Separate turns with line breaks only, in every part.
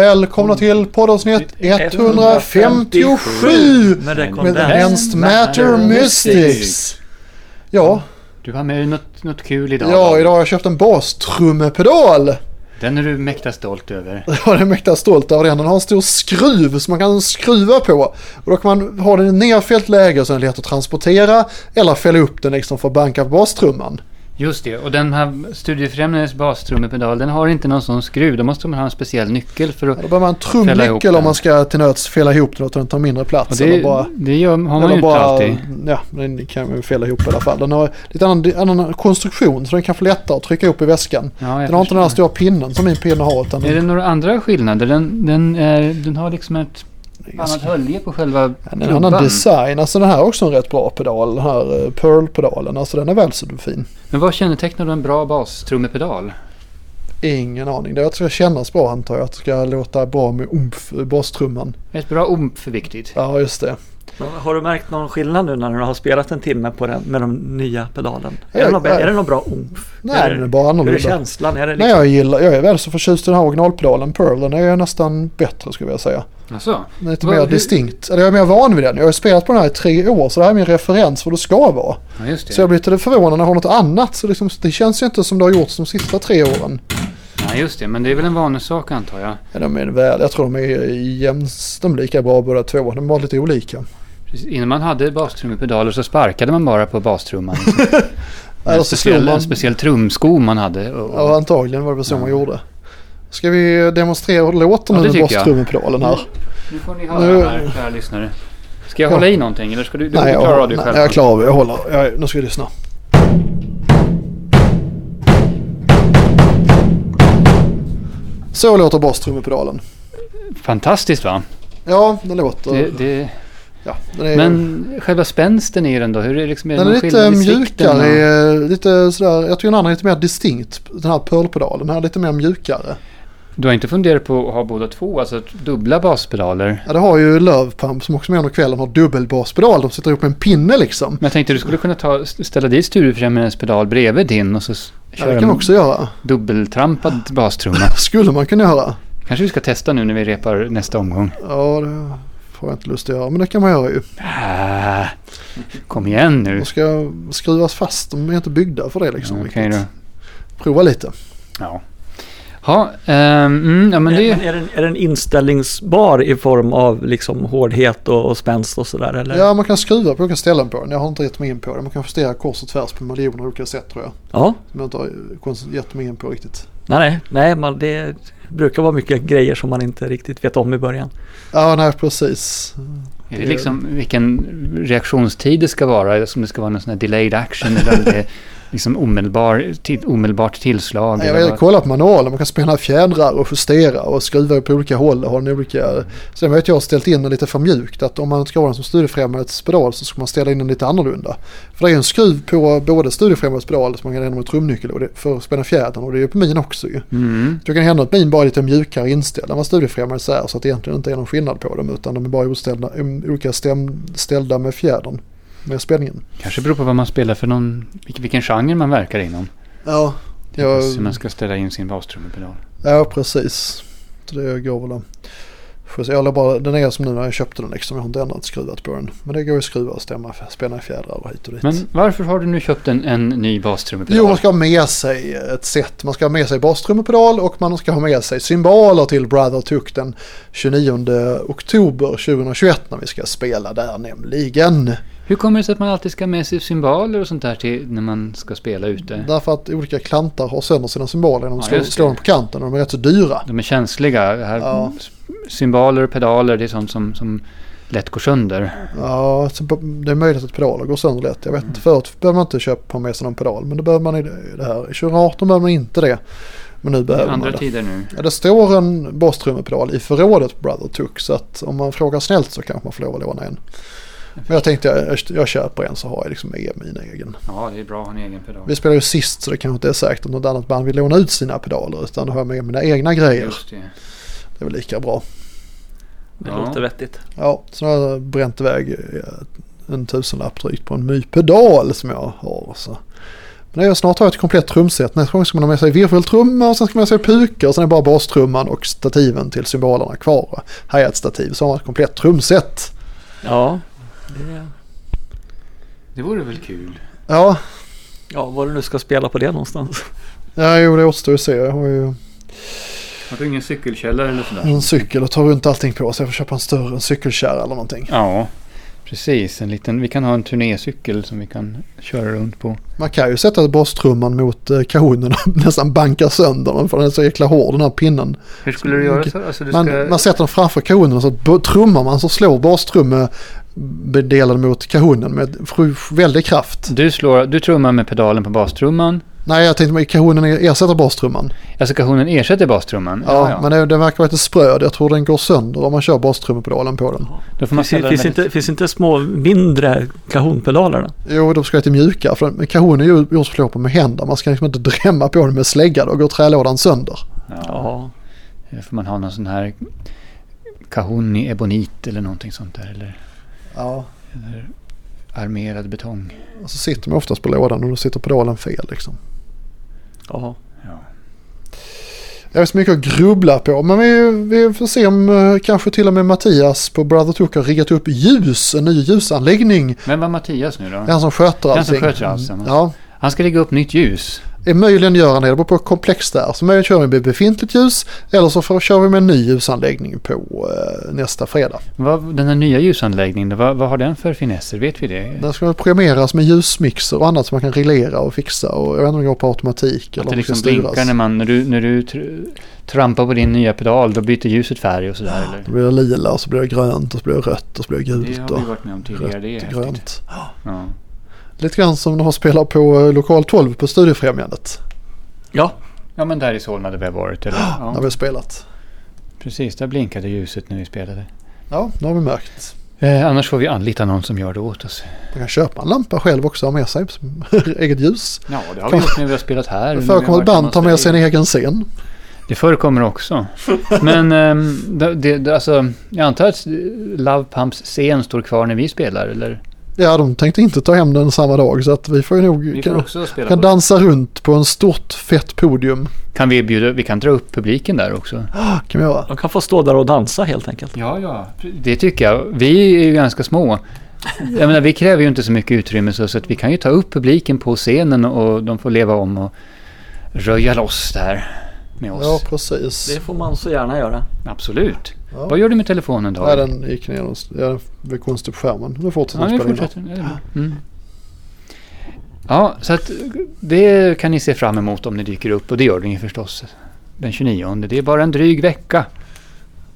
Välkomna till poddavsnitt 157
Med det kom
med
den.
Advanced Matter Mystics. Ja,
Du har med dig något, något kul idag.
ja,
David.
idag har jag köpt en bastrummepedal.
Den är du mäkta stolt över.
Ja, det är mäkta stolt över den. Den har en stor skruv som man kan skruva på. Och då kan man ha den i nedfällt läge så den är lätt att transportera. Eller fälla upp den liksom för att banka på bastrumman.
Just det, och den här studiefrämjandes bastrummepedal, den har inte någon sån skruv. Då måste man ha en speciell nyckel för att...
Ja, Då behöver man en
Fälla ihop
trumnyckel
den.
om man ska till nöds fälla ihop den och den tar mindre
Och
plats.
det,
eller bara...
det gör, har man ju
Eller
inte
bara,
alltid.
ja, den kan man ju fälla ihop i alla fall. Den har lite annan, annan konstruktion så den kanske är lättare att trycka upp i väskan.
Ja, jag
Den har inte den här
förstår.
stora pinnen som min pinne har utan
Är
den,
det några andra skillnader? Den, den, är, den har liksom ett annat
ganska-
hölje på själva
den är en annan design. Alltså den här är också en rätt bra pedal, den här eh, Pearl-pedalen. Alltså den är väl så fin.
Men vad kännetecknar då en bra bastrummepedal?
Ingen aning. Det är att det ska kännas bra antar jag. Att det ska låta bra med umf i bastrumman.
Ett bra omf är viktigt.
Ja just det.
Har du märkt någon skillnad nu när du har spelat en timme på den, med den nya pedalen?
Ja,
är, det någon,
ja.
är det någon bra oomph?
Nej
är,
den är
det-
bara
Hur är
annorlunda.
känslan? Är
Nej
det liksom,
jag gillar, jag är väl så förtjust i den här originalpedalen Pearl. Den är nästan bättre skulle jag säga.
Alltså,
Den är Lite
Vad-
mer
hur-
distinkt. Eller jag är mer van vid den. Jag har ju spelat på den här i tre år så det här är min referens vad det ska vara.
ja just det.
Så jag blir lite förvånad när jag har något annat. Så liksom, det känns ju inte som det har gjorts de sista tre åren.
Ja, just det. Men det är väl en vanesak antar jag.
Ja, De är väl, jag tror de är jämns, de är lika bra båda två. De var lite olika.
Precis, Innan man hade bastrummepedaler så sparkade man bara på bastrumman. Med
Eller
en
så slog
speciell,
man.
en speciell trumsko man hade. Och, och,
Ja, antagligen var det väl så man gjorde. Ska vi demonstrera hur det låter
Ja,
nu
det
med
tycker jag.
bastrummepedalen här?
Nu får ni höra
Nu-
här, kära lyssnare. Ska jag hålla i någonting eller ska du, du
Nej, jag,
klarar av dig
nej,
själv?
jag klarar av det. Jag håller. Jag, nu ska vi lyssna. Så låter bastrummepedalen.
Fantastiskt va?
Ja, den låter...
Det, det,
ja, den är,
men själva spänsten i den då? Hur är det liksom? Är det
den är
någon skillnad
lite
i sikten och-
mjukare. eh, Lite sådär, jag tycker den andra är lite mer distinkt. Den här pearlpedalen. Den här är lite mer mjukare.
Du har inte funderat på att ha båda två, alltså att dubbla baspedaler?
Ja, det har ju Love Pump som också med under kvällen har dubbelbaspedal. De sätter ihop en pinne liksom.
Men jag tänkte du skulle kunna ta, ställa dit Sturefrämjandets pedal bredvid din och så s-
Ja,
köra
det kan man
en
också Ah. göra.
dubbeltrampad bastrumma.
Skulle man kunna göra.
Kanske vi ska testa nu när vi repar nästa omgång.
Ja, det får jag inte lust att göra. Men det kan man göra ju.
Ah, kom igen nu.
De ska skruvas fast. De är inte byggda för det liksom.
Mm, Okej då.
riktigt. Prova lite.
Ja. Ha, ehm, mm, ja men det
är, men är, den, är den inställningsbar i form av liksom hårdhet och, och spänst och sådär? Eller?
Ja, man kan skruva på olika ställen på den. Jag har inte gett mig in på det. Man kan justera kors och tvärs på miljoner olika sätt tror jag.
Ja.
Som jag inte har konst- gett mig in på riktigt.
Nej, nej, nej man, det brukar vara mycket grejer som man inte riktigt vet om i början.
Ja, nej precis.
är det liksom vilken reaktionstid det ska vara. Som det ska vara någon sån här delayed action eller om det är liksom omedelbar, till, omedelbart tillslag.
Nej, Jag
eller
vill
vad-
kolla på manualen, man kan spänna fjädrar och justera och skruva på olika håll och ha den olika. Sen vet jag har ställt in den lite för mjukt, att om man ska ha den som studiefrämjandets pedal så ska man ställa in den lite annorlunda. För det är ju en skruv på både studiefrämjandets pedal som man kan använda med trumnyckel och det, för att spänna fjädern och det är ju på min också ju.
Mm.
Så det kan hända att min bara är lite mjukare inställd än vad studiefrämjandets är så att det egentligen inte är någon skillnad på dem utan de är bara oställda, olika stäm, ställda med fjädern, med spänningen.
Kanske beror på vad man spelar för någon, vilken, vilken genre man verkar inom.
Ja, jag,
Hur man ska ställa in sin bastrummepedal.
Ja, precis. Så det går väl att... Får se, Eller bara, den är som nu när jag köpte den liksom. Jag har inte ändrat skruvat på den. Men det går ju att skruva och stämma, spänna i fjädrar och hit och dit.
Men varför har du nu köpt en, en ny bastrummepedal?
Jo, man ska ha med sig ett set. Man ska ha med sig bastrummepedal och man ska ha med sig symboler till Brother Tuck den 29 oktober 2021 när vi ska spela där nämligen.
Hur kommer det sig att man alltid ska ha med sig cymbaler och sånt där till när man ska spela ute?
Därför att olika klantar har sönder sina symboler när de
Ja,
slår,
just det.
slår dem på kanten och de är rätt så dyra.
De är känsliga. Här,
Ja.
Cymbaler och pedaler, det är sånt som, som lätt går sönder.
Ja, så på- det är möjligt att pedaler går sönder lätt. Jag vet inte, förut behöver man inte köpa med sig någon pedal. Men det behöver man i det i det här. I 2018 behöver man inte det. Men nu behöver
Andra
man det.
tider nu.
Ja, det står en Boss-trummepedal i förrådet på Brother Tuck. Så att om man frågar snällt så kanske man får lov att låna en. Men jag tänkte jag, jag köper en så har jag liksom med min egen.
Ja, det är bra att ha en egen pedal.
Vi spelade ju sist så det kanske inte är säkert om något annat band vill låna ut sina pedaler. Utan då har jag med mina egna grejer.
Just det.
Det är väl lika bra.
Det
Ja.
låter vettigt.
Ja, så har jag bränt iväg eh, en tusenlapp drygt på en ny pedal som jag har. Så Men jag snart har jag ett komplett trumset. Nästa gång ska man ha med sig virveltrumma och sen ska man ha med sig puka och sen är bara bastrumman och stativen till symbolerna kvar. Här är ett stativ så har man ett komplett trumset.
Ja. Det,
Det vore väl kul.
Ja,
ja, var du nu ska spela på det någonstans.
ja jo, det återstår att se. Jag har ju
Har du ingen cykelkällare eller sådär?
en cykel och tar runt allting på så jag får köpa en större cykelkärra eller någonting.
Ja, precis. En liten, vi kan ha en turnécykel som vi kan köra runt på.
Man kan ju sätta bastrumman mot eh, kahonen och nästan banka sönder den för den är så jäkla hård den här pinnen.
Hur skulle du göra? Så? Alltså, du
Man,
ska...
man sätter den framför kahonen så att bo- trummar man så slår bastrummedelen mot kahonen med fru- väldig kraft.
Du, slår, du trummar med pedalen på bastrumman.
Nej, jag tänkte mig kahonen ersätter bastrumman.
Alltså kahonen ersätter bastrumman.
Ja, men det, den verkar vara lite spröd. Jag tror den går sönder om man kör bastrumpedalen på den.
Då får man
Finns,
ställa den
finns,
väldigt-
inte, finns inte små mindre kahonpedaler? då?
Jo, de ska lite mjuka. För den, men kahonen är ju gjord för att slå på med händer. Man ska liksom inte drämma på den med slägga. Då går trälådan sönder.
Ja.
Ja.
Eller får man ha någon sån här kahon i ebonit eller någonting sånt där. Eller
Ja.
armerad betong.
Och så sitter man oftast på lådan och då sitter pedalen fel liksom.
ja.
Det är så mycket att grubbla på. Men vi, vi får se om eh, kanske till och med Mattias på Brother Took har riggat upp ljus. En ny ljusanläggning.
Vem var Mattias nu
Det är
då?
han som sköter
är
allting.
han som sköter allt tillsammans.
Ja.
Han ska lägga upp nytt ljus.
Är möjligen gör han det. Det beror på hur komplext det är. Så möjligen kör vi med befintligt ljus. Eller så får, kör vi med en ny ljusanläggning på eh, nästa fredag.
Vad, den här nya ljusanläggningen, vad, vad har den för finesser? Vet vi det?
Den ska väl programmeras med ljusmixer och annat som man kan reglera och fixa. Och jag vet inte om det går på automatik eller
Att
om det
det
ska
liksom
styras.
blinkar när, man, när du, när du tr- trampar på din nya pedal, då byter ljuset färg och sådär eller?
Då blir det lila och så blir det grönt och så blir det rött och så blir det gult. och
varit med om
rött och grönt.
Ja.
Lite grann som när de spelar på eh, lokal 12 på Studiefrämjandet.
ja.
ja men där i Solna hade vi har varit eller?
När vi
Ja,
har spelat.
precis, där blinkade ljuset när vi spelade.
Ja, det har vi märkt.
Eh, annars får vi anlita någon som gör det åt oss.
Man kan köpa en lampa själv också och ha med sig som eget ljus.
Ja, det har
vi
gjort när vi har spelat här.
Det förekommer att band tar med sig en egen scen.
Det förekommer också. Men ehm, det, det, det- alltså, jag antar att Love Pumps scen står kvar när vi spelar eller?
Ja, de tänkte inte ta hem den samma dag så att vi får ju nog... Kan,
också spela
kan dansa runt på en stort fett podium.
Kan vi erbjuda, vi kan dra upp publiken där också.
Ah, kan vi göra.
De kan få stå där och dansa helt enkelt.
Ja, ja. Det tycker jag. Vi är ju ganska små. Jag menar, vi kräver ju inte så mycket utrymme så, så att vi kan ju ta upp publiken på scenen och de får leva om och röja loss där med
Ja,
oss.
precis.
Det får man så gärna göra.
Absolut.
Ja.
Vad gör du med telefonen då?
Nej, den gick ner någonstans. Ja, den gick konstigt på skärmen. Nu fortsätter den
ja, vi
spela in.
fortsätter. Ja, det är bra. Mm. Ja, så att det kan ni se fram emot om ni dyker upp och det gör ni ju förstås den 29. Det är bara en dryg vecka.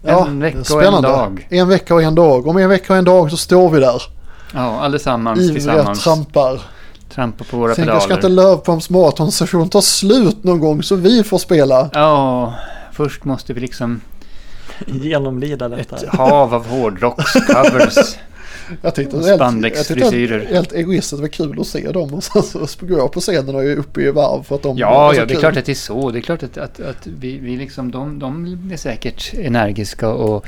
Ja,
En vecka och en
spännande.
dag.
En vecka och en dag. Om en vecka och en dag så står vi där.
Ja, allesammans
Ivriga
tillsammans.
trampar.
Trampa på våra
Tänk
pedaler.
jag ska inte Lövpumps maratonsession ta slut någon gång så vi får spela.
Ja, först måste vi liksom
Genomlida detta.
ett hav av hårdrockscovers.
Jag tyckte det
Och
var helt-
spandexfrisyrer.
jag tyckte det var helt egoistiskt att det var kul att se dem och sen så går jag på scenen och är uppe i varv för att de var
ja,
så
ja, det är
Alltså, kul.
klart att det är så. Det är klart att, att, att vi, vi liksom, de, de är säkert energiska och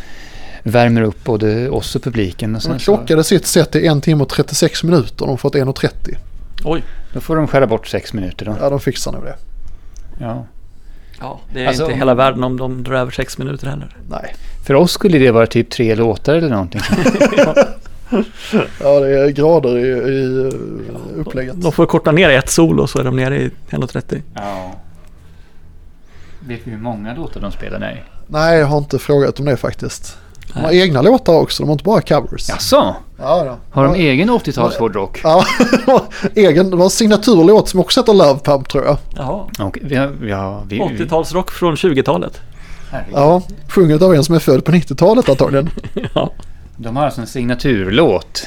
värmer upp både oss och publiken. Och
De
sen så,
klockade sitt set i en timme och 36 minuter och de har fått 1.30.
Oj.
då får de skära bort sex minuter då.
Ja, de fixar nog det.
Ja.
Ja, det är
Alltså-
inte hela världen om de drar över sex minuter heller.
Nej,
För oss skulle det vara typ tre låtar eller någonting.
ja, det är grader i, i eh, upplägget.
De får korta ner ett solo så är de nere i 1.30.
Ja. Vet vi hur många låtar de spelar? Nej.
Nej, jag har inte frågat om det faktiskt. De har
Nej.
egna låtar också, de har inte bara covers.
Jaså?
Ja, ja.
Har de e-
ja.
egen 80-tals hårdrock?
Ja, de har egen, de har en signaturlåt som också heter Love Pump tror jag.
Jaha.
Okej, vi har- vi har- vi- vi-
80-talsrock från 20-talet.
Herregud.
Ja, sjunget av en som är född på 90-talet antagligen.
Ja.
De har alltså en signaturlåt.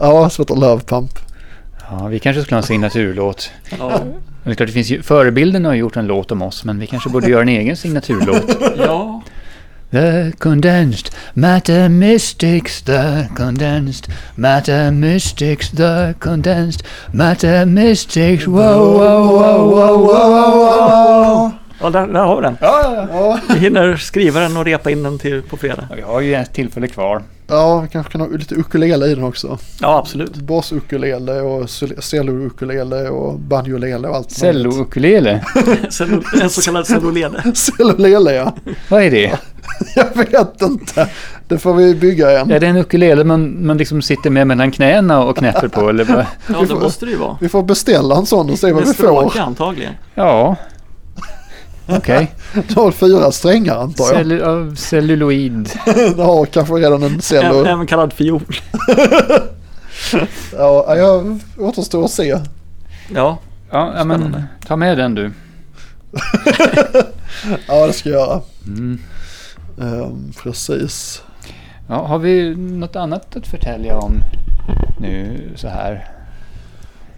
Ja, som heter Love Pump.
Ja, vi kanske skulle ha en signaturlåt.
Ja.
Det är klart, det finns ju, förebilden har ju gjort en låt om oss, men vi kanske borde göra en egen signaturlåt.
ja.
The condensed matter mystics, the condensed matter mystics, the condensed matter mystics, wow, wow, wow, wow, wow, wow, wow.
Ja, där, där har vi den.
Ja, ja, ja.
Ja,
Vi hinner skriva den och repa in den till på fredag.
Ja, Vi har ju ett tillfälle kvar.
ja vi kanske kan ha lite ukulele i den också.
Ja, absolut.
Bas-ukulele och cel- cello-ukulele och banjolele och allt. möjligt.
Cello-ukulele,
Cello, en så kallad cellolele.
Cellolele ja.
vad är det?
Jag vet inte. Det får vi bygga en.
Är det en ukulele man, man liksom sitter med mellan knäna och knäpper på? Eller vad?
Ja, det måste det ju vara.
Vi får beställa en sån och se vad
Med
vi får.
stråke antagligen.
Ja, okej.
Du har fyra strängar antar jag.
Cellu- av celluloid.
Du har kanske redan en cello.
Även, även kallad fiol.
Ja, jag återstår att se.
Ja,
Ja, ja, men
Spännande.
ta med den du.
Ja, det ska jag göra.
Mm.
Ehm, precis.
Ja, har vi något annat att förtälja om nu så här?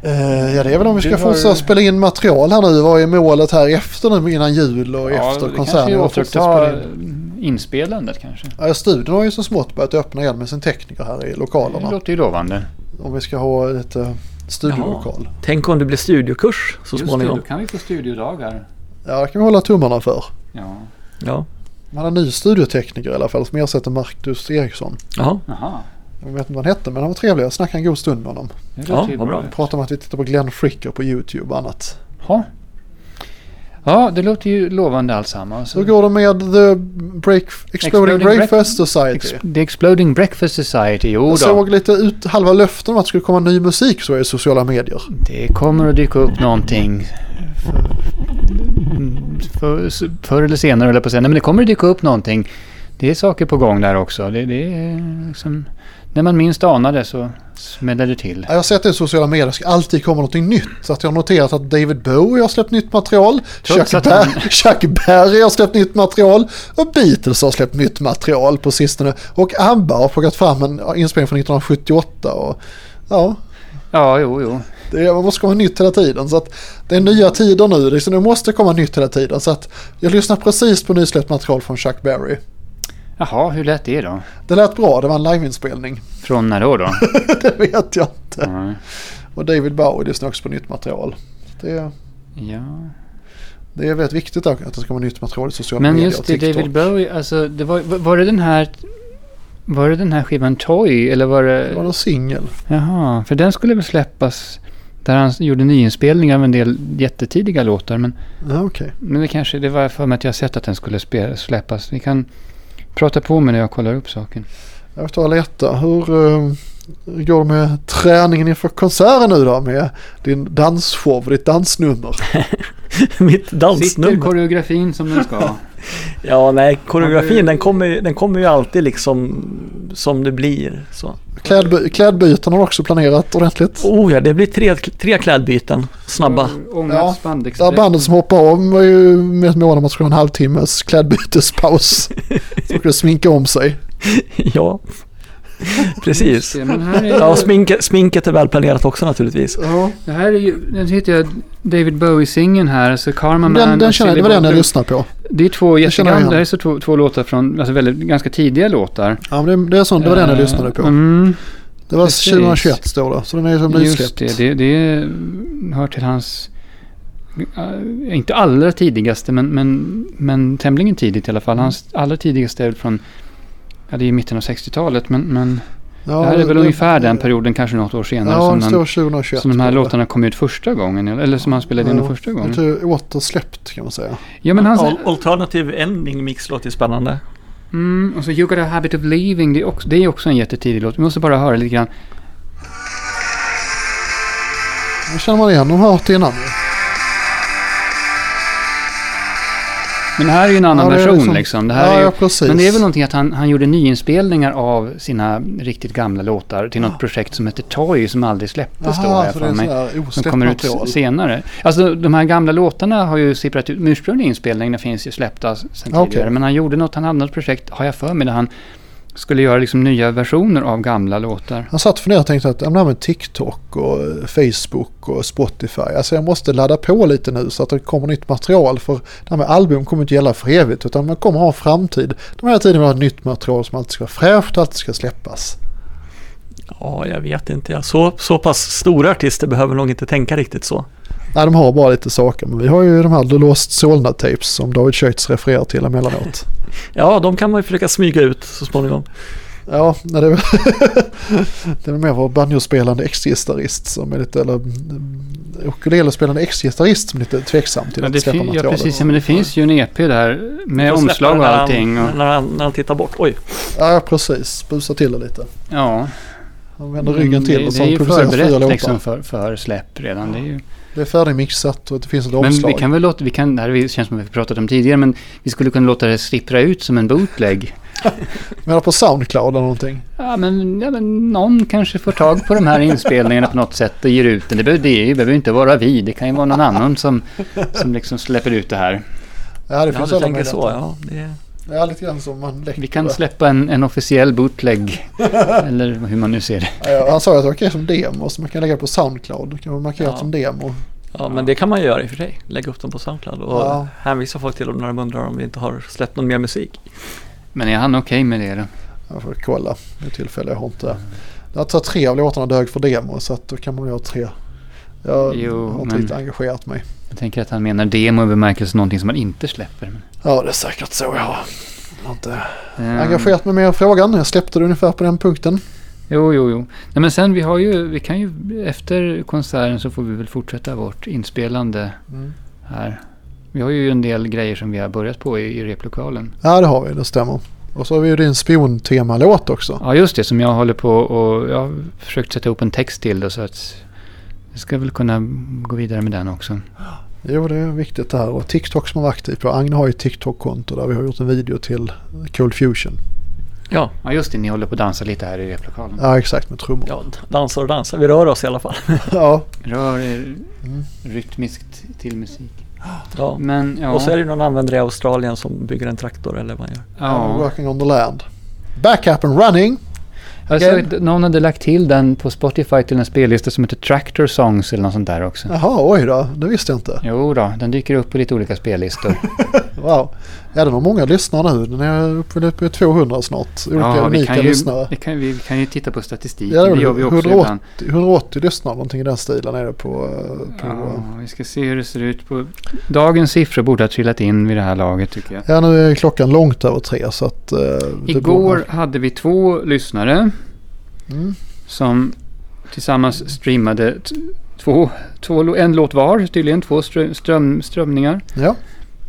Eh, ja, det är väl om vi ska
Du har-
fortsätta spela in material här nu. Vad är målet här efter nu innan jul och
ja,
efter
det kanske
konserten?
är
Jag fortsätter
återuppta
spela in.
inspelandet kanske.
Ja, studion har ju så smått börjat öppna igen med sin tekniker här i
Det
lokalerna.
låter ju lovande.
Om vi ska ha lite studiolokal.
tänk om det blir studiokurs så
Just det,
småningom.
då kan vi få studiodagar.
Ja, det kan vi hålla tummarna för.
Ja,
Ja,
Man har en ny studiotekniker i alla fall som ersätter Marcus Eriksson.
Jaha.
jaha.
Jag vet inte vad han hette men han var trevlig. Jag snackade en god stund med honom.
Det
Ja,
låter ju
vad bra.
Pratade om att vi tittar på Glenn Fricker på YouTube och annat.
Ja. ja, det låter ju lovande alltsammans.
Så går det med The Break, Exploding
Mm. Exploding
Breakfast
Ex-
Society.
The Exploding Breakfast Society, jo
Jag
då.
såg lite ut halva löften om att det skulle komma ny musik så i sociala medier.
Det kommer att dyka upp någonting. För, för, förr eller senare eller på att säga. Nej, men det kommer att dyka upp någonting. Det är saker på gång där också. Det, det är liksom, när man minst anar det så smäller det till.
Jag har sett det i sociala medier, det ska alltid komma något nytt. Så att jag har noterat att David Bowie har släppt nytt material. Chuck,
att
Ber-
han-
Chuck Berry har släppt nytt material. Och Beatles har släppt nytt material på sistone. Och ABBA har plockat fram en ja, inspelning från 1978. Och, ja,
Ja, jo, jo.
Det är, man måste komma nytt hela tiden. Så att det är nya tider nu, liksom, det måste komma nytt hela tiden. Så att jag lyssnar precis på nysläppt material från Chuck Berry.
Jaha, hur lät det då?
Det lät bra, det var en liveinspelning.
Från när då? då?
det vet jag inte.
Ja.
Och David Bowie lyssnar också på nytt material. Det,
ja.
det är väldigt viktigt att det ska komma nytt material i sociala
Men
medier
just
och
det,
TikTok.
David Bowie, alltså, det var, var det den här... Var det den här skivan Toy, eller var
Det var
det...
någon singel.
Jaha, för den skulle väl släppas... Där han gjorde nyinspelningar av en del jättetidiga låtar, men...
Ja, okej.
Men det kanske, det var för mig att jag sett att den skulle spe- släppas. Vi kan prata på med när jag kollar upp saken.
Jag tar och letar. Hur eh, går det med träningen inför konserten nu då? Med din dansshow, ditt dansnummer.
Mitt
Sitter
dansnummer.
koreografin som den ska?
Ja, nej,
Ja,
koreografin
det-
den kommer, ju- den kommer ju alltid liksom som det blir. Så.
Klädby- klädbyten har du också planerat ordentligt.
Oh ja, det blir tre, tre klädbyten. Snabba.
Ångat
Ja, Det här
spandexdräkt.
bandet som hoppar av var ju med ett mål om att skulle ha en halvtimmes klädbytespaus. Så skulle sminka om sig.
Ja, precis.
Se, Men här är,
Ja, och sminket, sminket är välplanerat också naturligtvis.
Ja.
det här är ju, nu hittar jag David Bowie-singeln här, alltså Karma Man
Den, den
och
känner, jag- det
Silly
var den jag
Walter.
lyssnade på.
Det är två
känner jag
jättegamla,
igen.
det här är så två, två låtar från, alltså väldigt, ganska tidiga låtar.
Ja, men det, det, är sån, det var den jag
Eh,
lyssnade på.
Mm,
Det var
precis.
2021 står det. Så den är som
just
nysläppt.
det, det, det hör till hans, eh, inte allra tidigaste, men, men, men tämligen tidigt i alla
Mm.
fall. Hans allra tidigaste är väl från, ja det är ju mitten av 60-talet, men, men
Ja,
det här är väl ungefär den perioden, kanske något år senare,
Ja,
som,
det står
han,
2021.
som de här
står det.
låtarna kom ut första gången, eller, eller som han spelade in
Ja,
den första
Det är
gången.
inte återsläppt kan man säga.
Ja, men hans,
Al- Alternative Ending Mix låter ju spännande.
Mm, och så You Got A Habit of Leaving, det är också, det är också en jättetidig låt. Vi måste bara höra lite grann.
Nu känner man igen de här hört innan. ju.
Men det här är ju en annan
Ja, det är
version
liksom-
liksom. Det här
ja,
är ju,
ja, precis.
Men det är väl någonting att han, han gjorde nyinspelningar av sina riktigt gamla låtar till något projekt som heter Toy som aldrig släpptes då har
Jaha,
jag
Ah. så det
för
är
mig.
sådär
Som
osläppt
kommer ut
material.
senare. Alltså de här gamla låtarna har ju sipprat ut. De ursprungliga inspelningarna finns ju släppta sen
Ja,
tidigare.
okej.
Men han gjorde något, han hade något projekt, har jag för mig, där han skulle göra liksom nya versioner av gamla låtar.
Han satt för ner och tänkte att ja, men det här med TikTok och eh, Facebook och Spotify. Alltså jag måste ladda på lite nu så att det kommer nytt material. För det här med album kommer inte gälla för evigt utan man kommer ha en framtid. De här tiden vill ha nytt material som alltid ska vara fräscht och alltid ska släppas.
Ja, jag vet inte. ja. Så, så pass stora artister behöver nog inte tänka riktigt så.
Nej, de har bara lite saker. Men vi har ju de här The Lost Solna Tapes som David Schöitz refererar till emellanåt.
Ja, de kan man ju försöka smyga ut så småningom.
Ja, nej, det, är, det är mer vår banjospelande ex-gitarrist som är lite, eller mm, ukulelespelande ex-gitarrist som är lite tveksam till
Ja,
att
det,
släppa
fin- ja,
materialet.
precis. Ja, men det finns ju en EP där med
Får släppa
omslag och
när han-
allting. Och,
När han, när han tittar bort. Oj,
Ja, precis. Busa till det lite.
ja.
Han vänder ryggen till
Mm, det,
och
det är
så
ju
producerar fyra
förberett
låtar.
liksom för, för släpp redan. Det är ju,
Det är färdigmixat och det finns ett
men
omslag.
vi kan väl låta, vi kan, det här känns som vi pratat om tidigare, men vi skulle kunna låta det sippra ut som en bootleg.
Menar på Soundcloud eller någonting?
Ja men, ja, men någon kanske får tag på de här inspelningarna på något sätt och ger ut den. Det behöver, det behöver ju inte vara vi, det kan ju vara någon annan som, som liksom släpper ut det här.
Ja, det
ja,
finns
du
alla
tänker så.
möjligheter.
Ja, det är...
Ja, lite grann som man läcker.
Vi kan släppa en, en officiell bootleg, eller hur man nu ser det.
Ja, han sa att det var som demo, så man kan lägga det på Soundcloud. Då kan man markera
Ja.
som demo.
Ja, men det kan man göra i och för sig. Lägga upp dem på Soundcloud och
Ja.
hänvisa folk till dem när de undrar om vi inte har släppt någon mer musik.
Men är han okej med det då?
Jag får kolla vid tillfälle. Jag har inte... Jag tar tre av låtarna dög för demo, så att då kan man göra tre. Jag
Jo,
har inte
men-
riktigt engagerat mig.
Jag tänker att han menar demo i bemärkelsen någonting som man inte släpper. Men,
Ja, det är säkert så jag har. Jag har inte
ehm,
engagerat mig mer i frågan. Jag släppte det ungefär på den punkten.
Jo, jo, jo. Nej, men sen vi har ju, vi kan ju, efter konserten så får vi väl fortsätta vårt inspelande
Mm.
här. Vi har ju en del grejer som vi har börjat på i, i replokalen.
Ja, det har vi. Det stämmer. Och så har vi ju din spiontemalåt också.
Ja, just det, som jag håller på och jag har försökt sätta ihop en text till då, så att jag ska väl kunna gå vidare med den också.
Jo, det är viktigt det här. Och TikTok som man var aktiv på. Agne har ju ett TikTok-konto där vi har gjort en video till Cold Fusion.
Ja,
Ja, just det, ni håller på att dansa lite här i replokalen.
Ja, exakt med trummor. Ja.
ja, dansar och dansar. Vi rör oss i alla fall.
Rör er rytmiskt till musik.
Mm. Ja.
Men ja,
Och så är det någon användare i Australien som bygger en traktor eller vad man gör.
I'm
ja.
Working on the land. Back up and running.
Jag såg att Alltså, någon hade lagt till den på Spotify till en spellista som heter Tractor Songs eller något sånt där också.
Jaha, oj då. Det visste jag inte.
Jo då, den dyker upp på lite olika spellistor.
Wow. Ja, den har många lyssnare nu. Den är uppe uppe i 200 snart. Olika
ja, vi
unika
kan, ju,
lyssnare.
vi, kan, vi kan ju titta på statistiken,
Ja, det är
det gör vi också
180,
ibland.
180 lyssnare, någonting i den stilen är det på... eh, på
Ja, vi ska se hur det ser ut på... Dagens siffror borde ha trillat in vid det här laget tycker jag.
Ja, nu är klockan långt över tre så att... eh, det
Igår
borde-
hade vi två lyssnare
Mm.
som tillsammans streamade t- två, två, lå- en låt var tydligen, två strö- ström, strömningar.
Ja,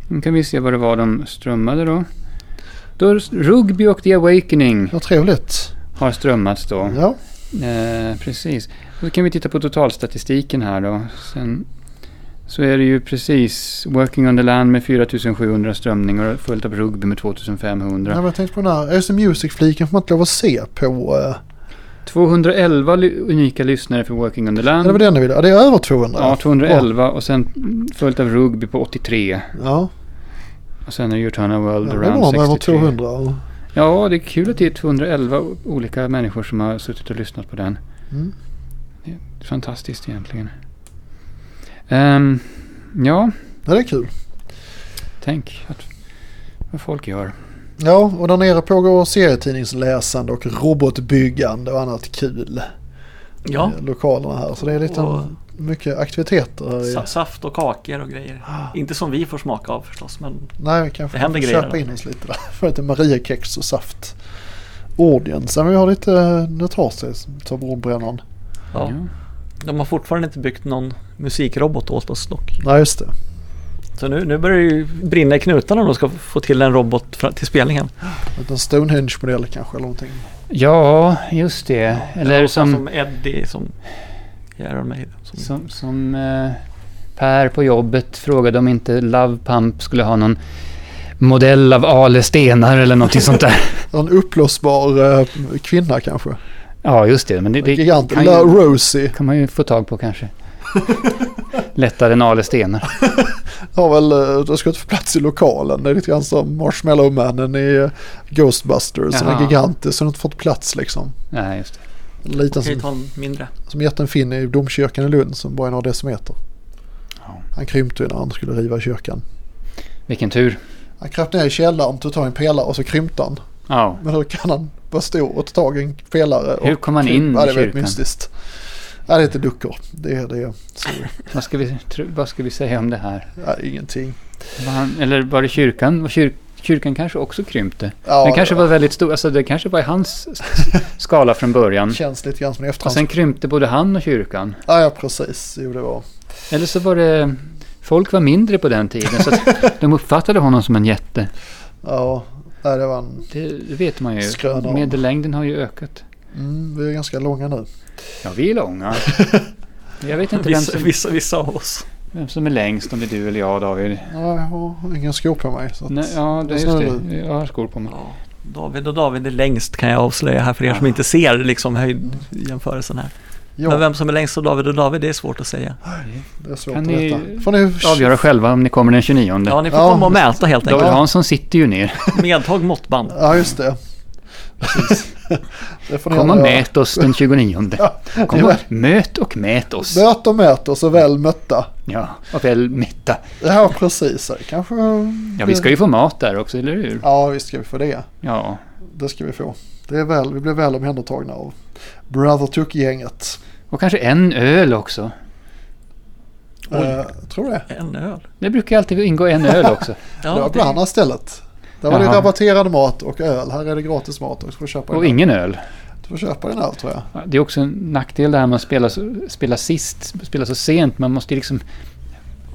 Nu kan vi se vad det var de strömmade då. då Rugby och The Awakening
vad trevligt.
har strömmats då.
Ja.
Eh, precis. Då kan vi titta på totalstatistiken här då. Sen så är det ju precis Working on the Land med 4700 strömningar och följt av Rugby med
Ja,
2500.
men jag tänkte på den här Öse Music-fliken får man inte lov att se på... eh,
211 ly- unika lyssnare för Working on the
Ja, det var
Land.
den jag ville. Ja, det är över 200.
Ja, 211 och sen mm, följt av Rugby på 83.
Ja,
Och sen är det Turn World
ja det var man över
around 63.
200. och-
Ja, det är kul att det är 211 o- olika människor som har suttit och lyssnat på den.
Mm.
Fantastiskt egentligen. Ehm, ja,
Ja, det är kul.
tänk att, vad folk gör.
Ja, och där nere pågår serietidningsläsande och robotbyggande och annat kul
Ja,
i lokalerna här. Så det är lite
Och-
mycket aktiviteter här. I...
sa- saft och kakor och grejer. Inte som vi får smaka av förstås, men
Nej, vi kanske
Det händer
får
grejer
köpa
där.
in oss lite där. För lite Mariekex och saft. Audience. Ja, men vi har lite, det tar sig, tar bordbrännaren.
ja.
Mm.
de har fortfarande inte byggt någon musikrobot åt oss dock.
Nej, just det.
Så nu, nu börjar det ju brinna i knutarna om de ska få till en robot fra- till spelningen.
En liten Stonehenge-modell kanske eller någonting.
Ja, just det. Eller
Och sen
som,
som Eddie som i Iron Maiden. Som,
som, som eh, Per på jobbet frågade om inte Love Pump skulle ha någon modell av Ale Stenar eller någonting sånt där.
En uppblåsbar eh, kvinna kanske.
Ja, just det. Men det, det
Gigant.
kan,
La
ju,
Rosie.
kan man ju få tag på kanske. Lättare än Ale Stenar.
Har väl, eh, det ska inte få plats i lokalen. Det är lite grann som Marshmallow-mannen i eh, Ghostbusters. Han är
Jaha.
gigantisk så han har inte fått plats liksom.
Nej, just det.
En Liten
kan ju
som,
ta en mindre.
som jätten Finn i domkyrkan i Lund som bara är några decimeter.
Ja.
Han krympte ju när han skulle riva kyrkan.
Vilken tur.
Han kröp ner i källaren, tog tag i en pelare och så krympte han.
Ja.
Men hur kan han vara stor och ta tag i en pelare?
Hur
och
kom han in
krympa?
i
Det är väldigt
kyrkan?
mystiskt. Nej, det är inte duckor. Det är det. Sorry.
Vad ska, vi, tro- vad ska vi säga om det här?
Nej, ingenting.
Var han, eller var det kyrkan? Var kyr, kyrkan kanske också krympte.
Ja,
den kanske
det
var väldigt stor. Alltså det kanske var i hans s- skala från början.
känns lite grann som en
Och
efterhands...
sen krympte både han och kyrkan.
Ja, ja, precis. Jo, det var...
Eller så var det... Folk var mindre på den tiden. Så att de uppfattade honom som en jätte.
Ja, nej, det var en...
Det, det vet man ju.
Skrön om.
Medellängden har ju ökat.
Mm, vi är ganska långa nu.
Ja, vi är långa. Jag vet inte vem
Vissa,
som,
vissa, vissa av oss.
vem som är längst, om det är du eller jag David.
Ja, jag har ingen skor på mig. Så att...
Nej, ja, det,
Vad
är
sa
just det. Jag har skor på mig.
Ja, David och David är längst kan jag avslöja här för er som inte ser liksom höjdjämförelsen här.
ja,
Men vem som är längst av David och David, det är svårt att säga.
det är svårt
Kan
att
ni-
veta. Får ni...
Avgöra själva om ni kommer den 29.
Ja, ni får
Ja.
komma och mäta helt
David
enkelt.
Ja.
Hansson sitter ju ner.
Medtag måttband.
Ja, just det. det får ni
Kom och
gärna göra.
mät oss den 29. Kom
Ja.
och möt och mät oss.
Möt och mät och så väl mötta.
Ja, och väl mätta.
Ja, precis. Kanske...
Ja, vi ska ju få mat där också, eller hur?
Ja, visst ska vi få det.
Ja,
Det ska vi få. Det är väl, vi blev väl omhändertagna av Brother Tuck-gänget.
och kanske en öl också.
Oj.
Eh, tror det.
En öl.
Det brukar alltid ingå en öl också.
det var på det andra stället. Där var det
Jaha.
rabatterad mat och öl. Här är det gratis mat och du får köpa,
Och
en,
ingen öl.
du får köpa den här tror jag.
Ja, Det är också en nackdel det här med att spela, så- spela sist, spela så sent. Man måste ju liksom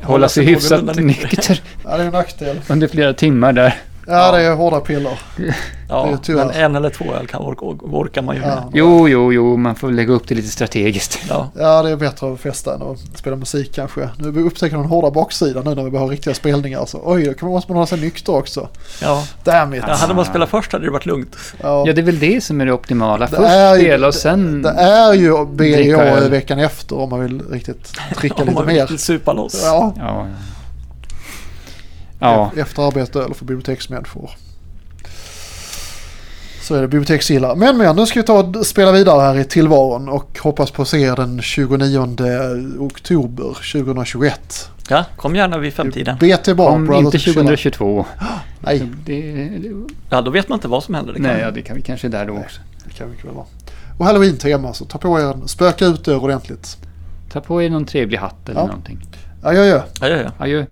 hålla sig
sig
hyfsat
någorlunda
nykter
Ja, det är en nackdel.
under flera timmar där.
Ja, det är hårda piller. Det är
Ja,
tyvärr.
men en eller två öl kan orka, orkar man ju.
Ja.
Ja.
Jo, jo, jo, man får lägga upp det lite strategiskt.
Ja.
Ja, det är bättre att festa än att spela musik kanske. Nu vi upptäcker den hårda baksidan nu när vi börjar ha riktiga spelningar. Så, oj, då kan- måste man hålla sig nykter också.
Ja.
Damn it.
Ja, hade man spelat först hade det varit lugnt.
Ja.
Ja, det är väl det som är det optimala.
Det
Först
är ju-
spela och sen...
Det är ju
Dricka
BIA
öl.
veckan efter om man vill riktigt dricka
Om
lite
man vill
mer.
riktigt supa loss.
Ja,
Ja. Ja.
efter arbete eller för biblioteksmänniskor. Så är det biblioteksgilla. Men men, nu ska vi ta och spela vidare här i tillvaron och hoppas på att se er den 29 oktober 2021.
Ja, kom gärna vid femtiden.
BT Bar,
Om
Brother
inte
to Chill.
2022.
Nej,
Det, det,
Ja, då vet man inte vad som händer. Det kan
nej, ja, det kan vi kanske är där då också.
det kan mycket väl vara. Och halloween-tema, så ta på er en, spöka ut er ordentligt.
Ta på er någon trevlig hatt eller
Ja.
någonting.
Adjö, adjö.
Ja, ja, ja.
Adjö.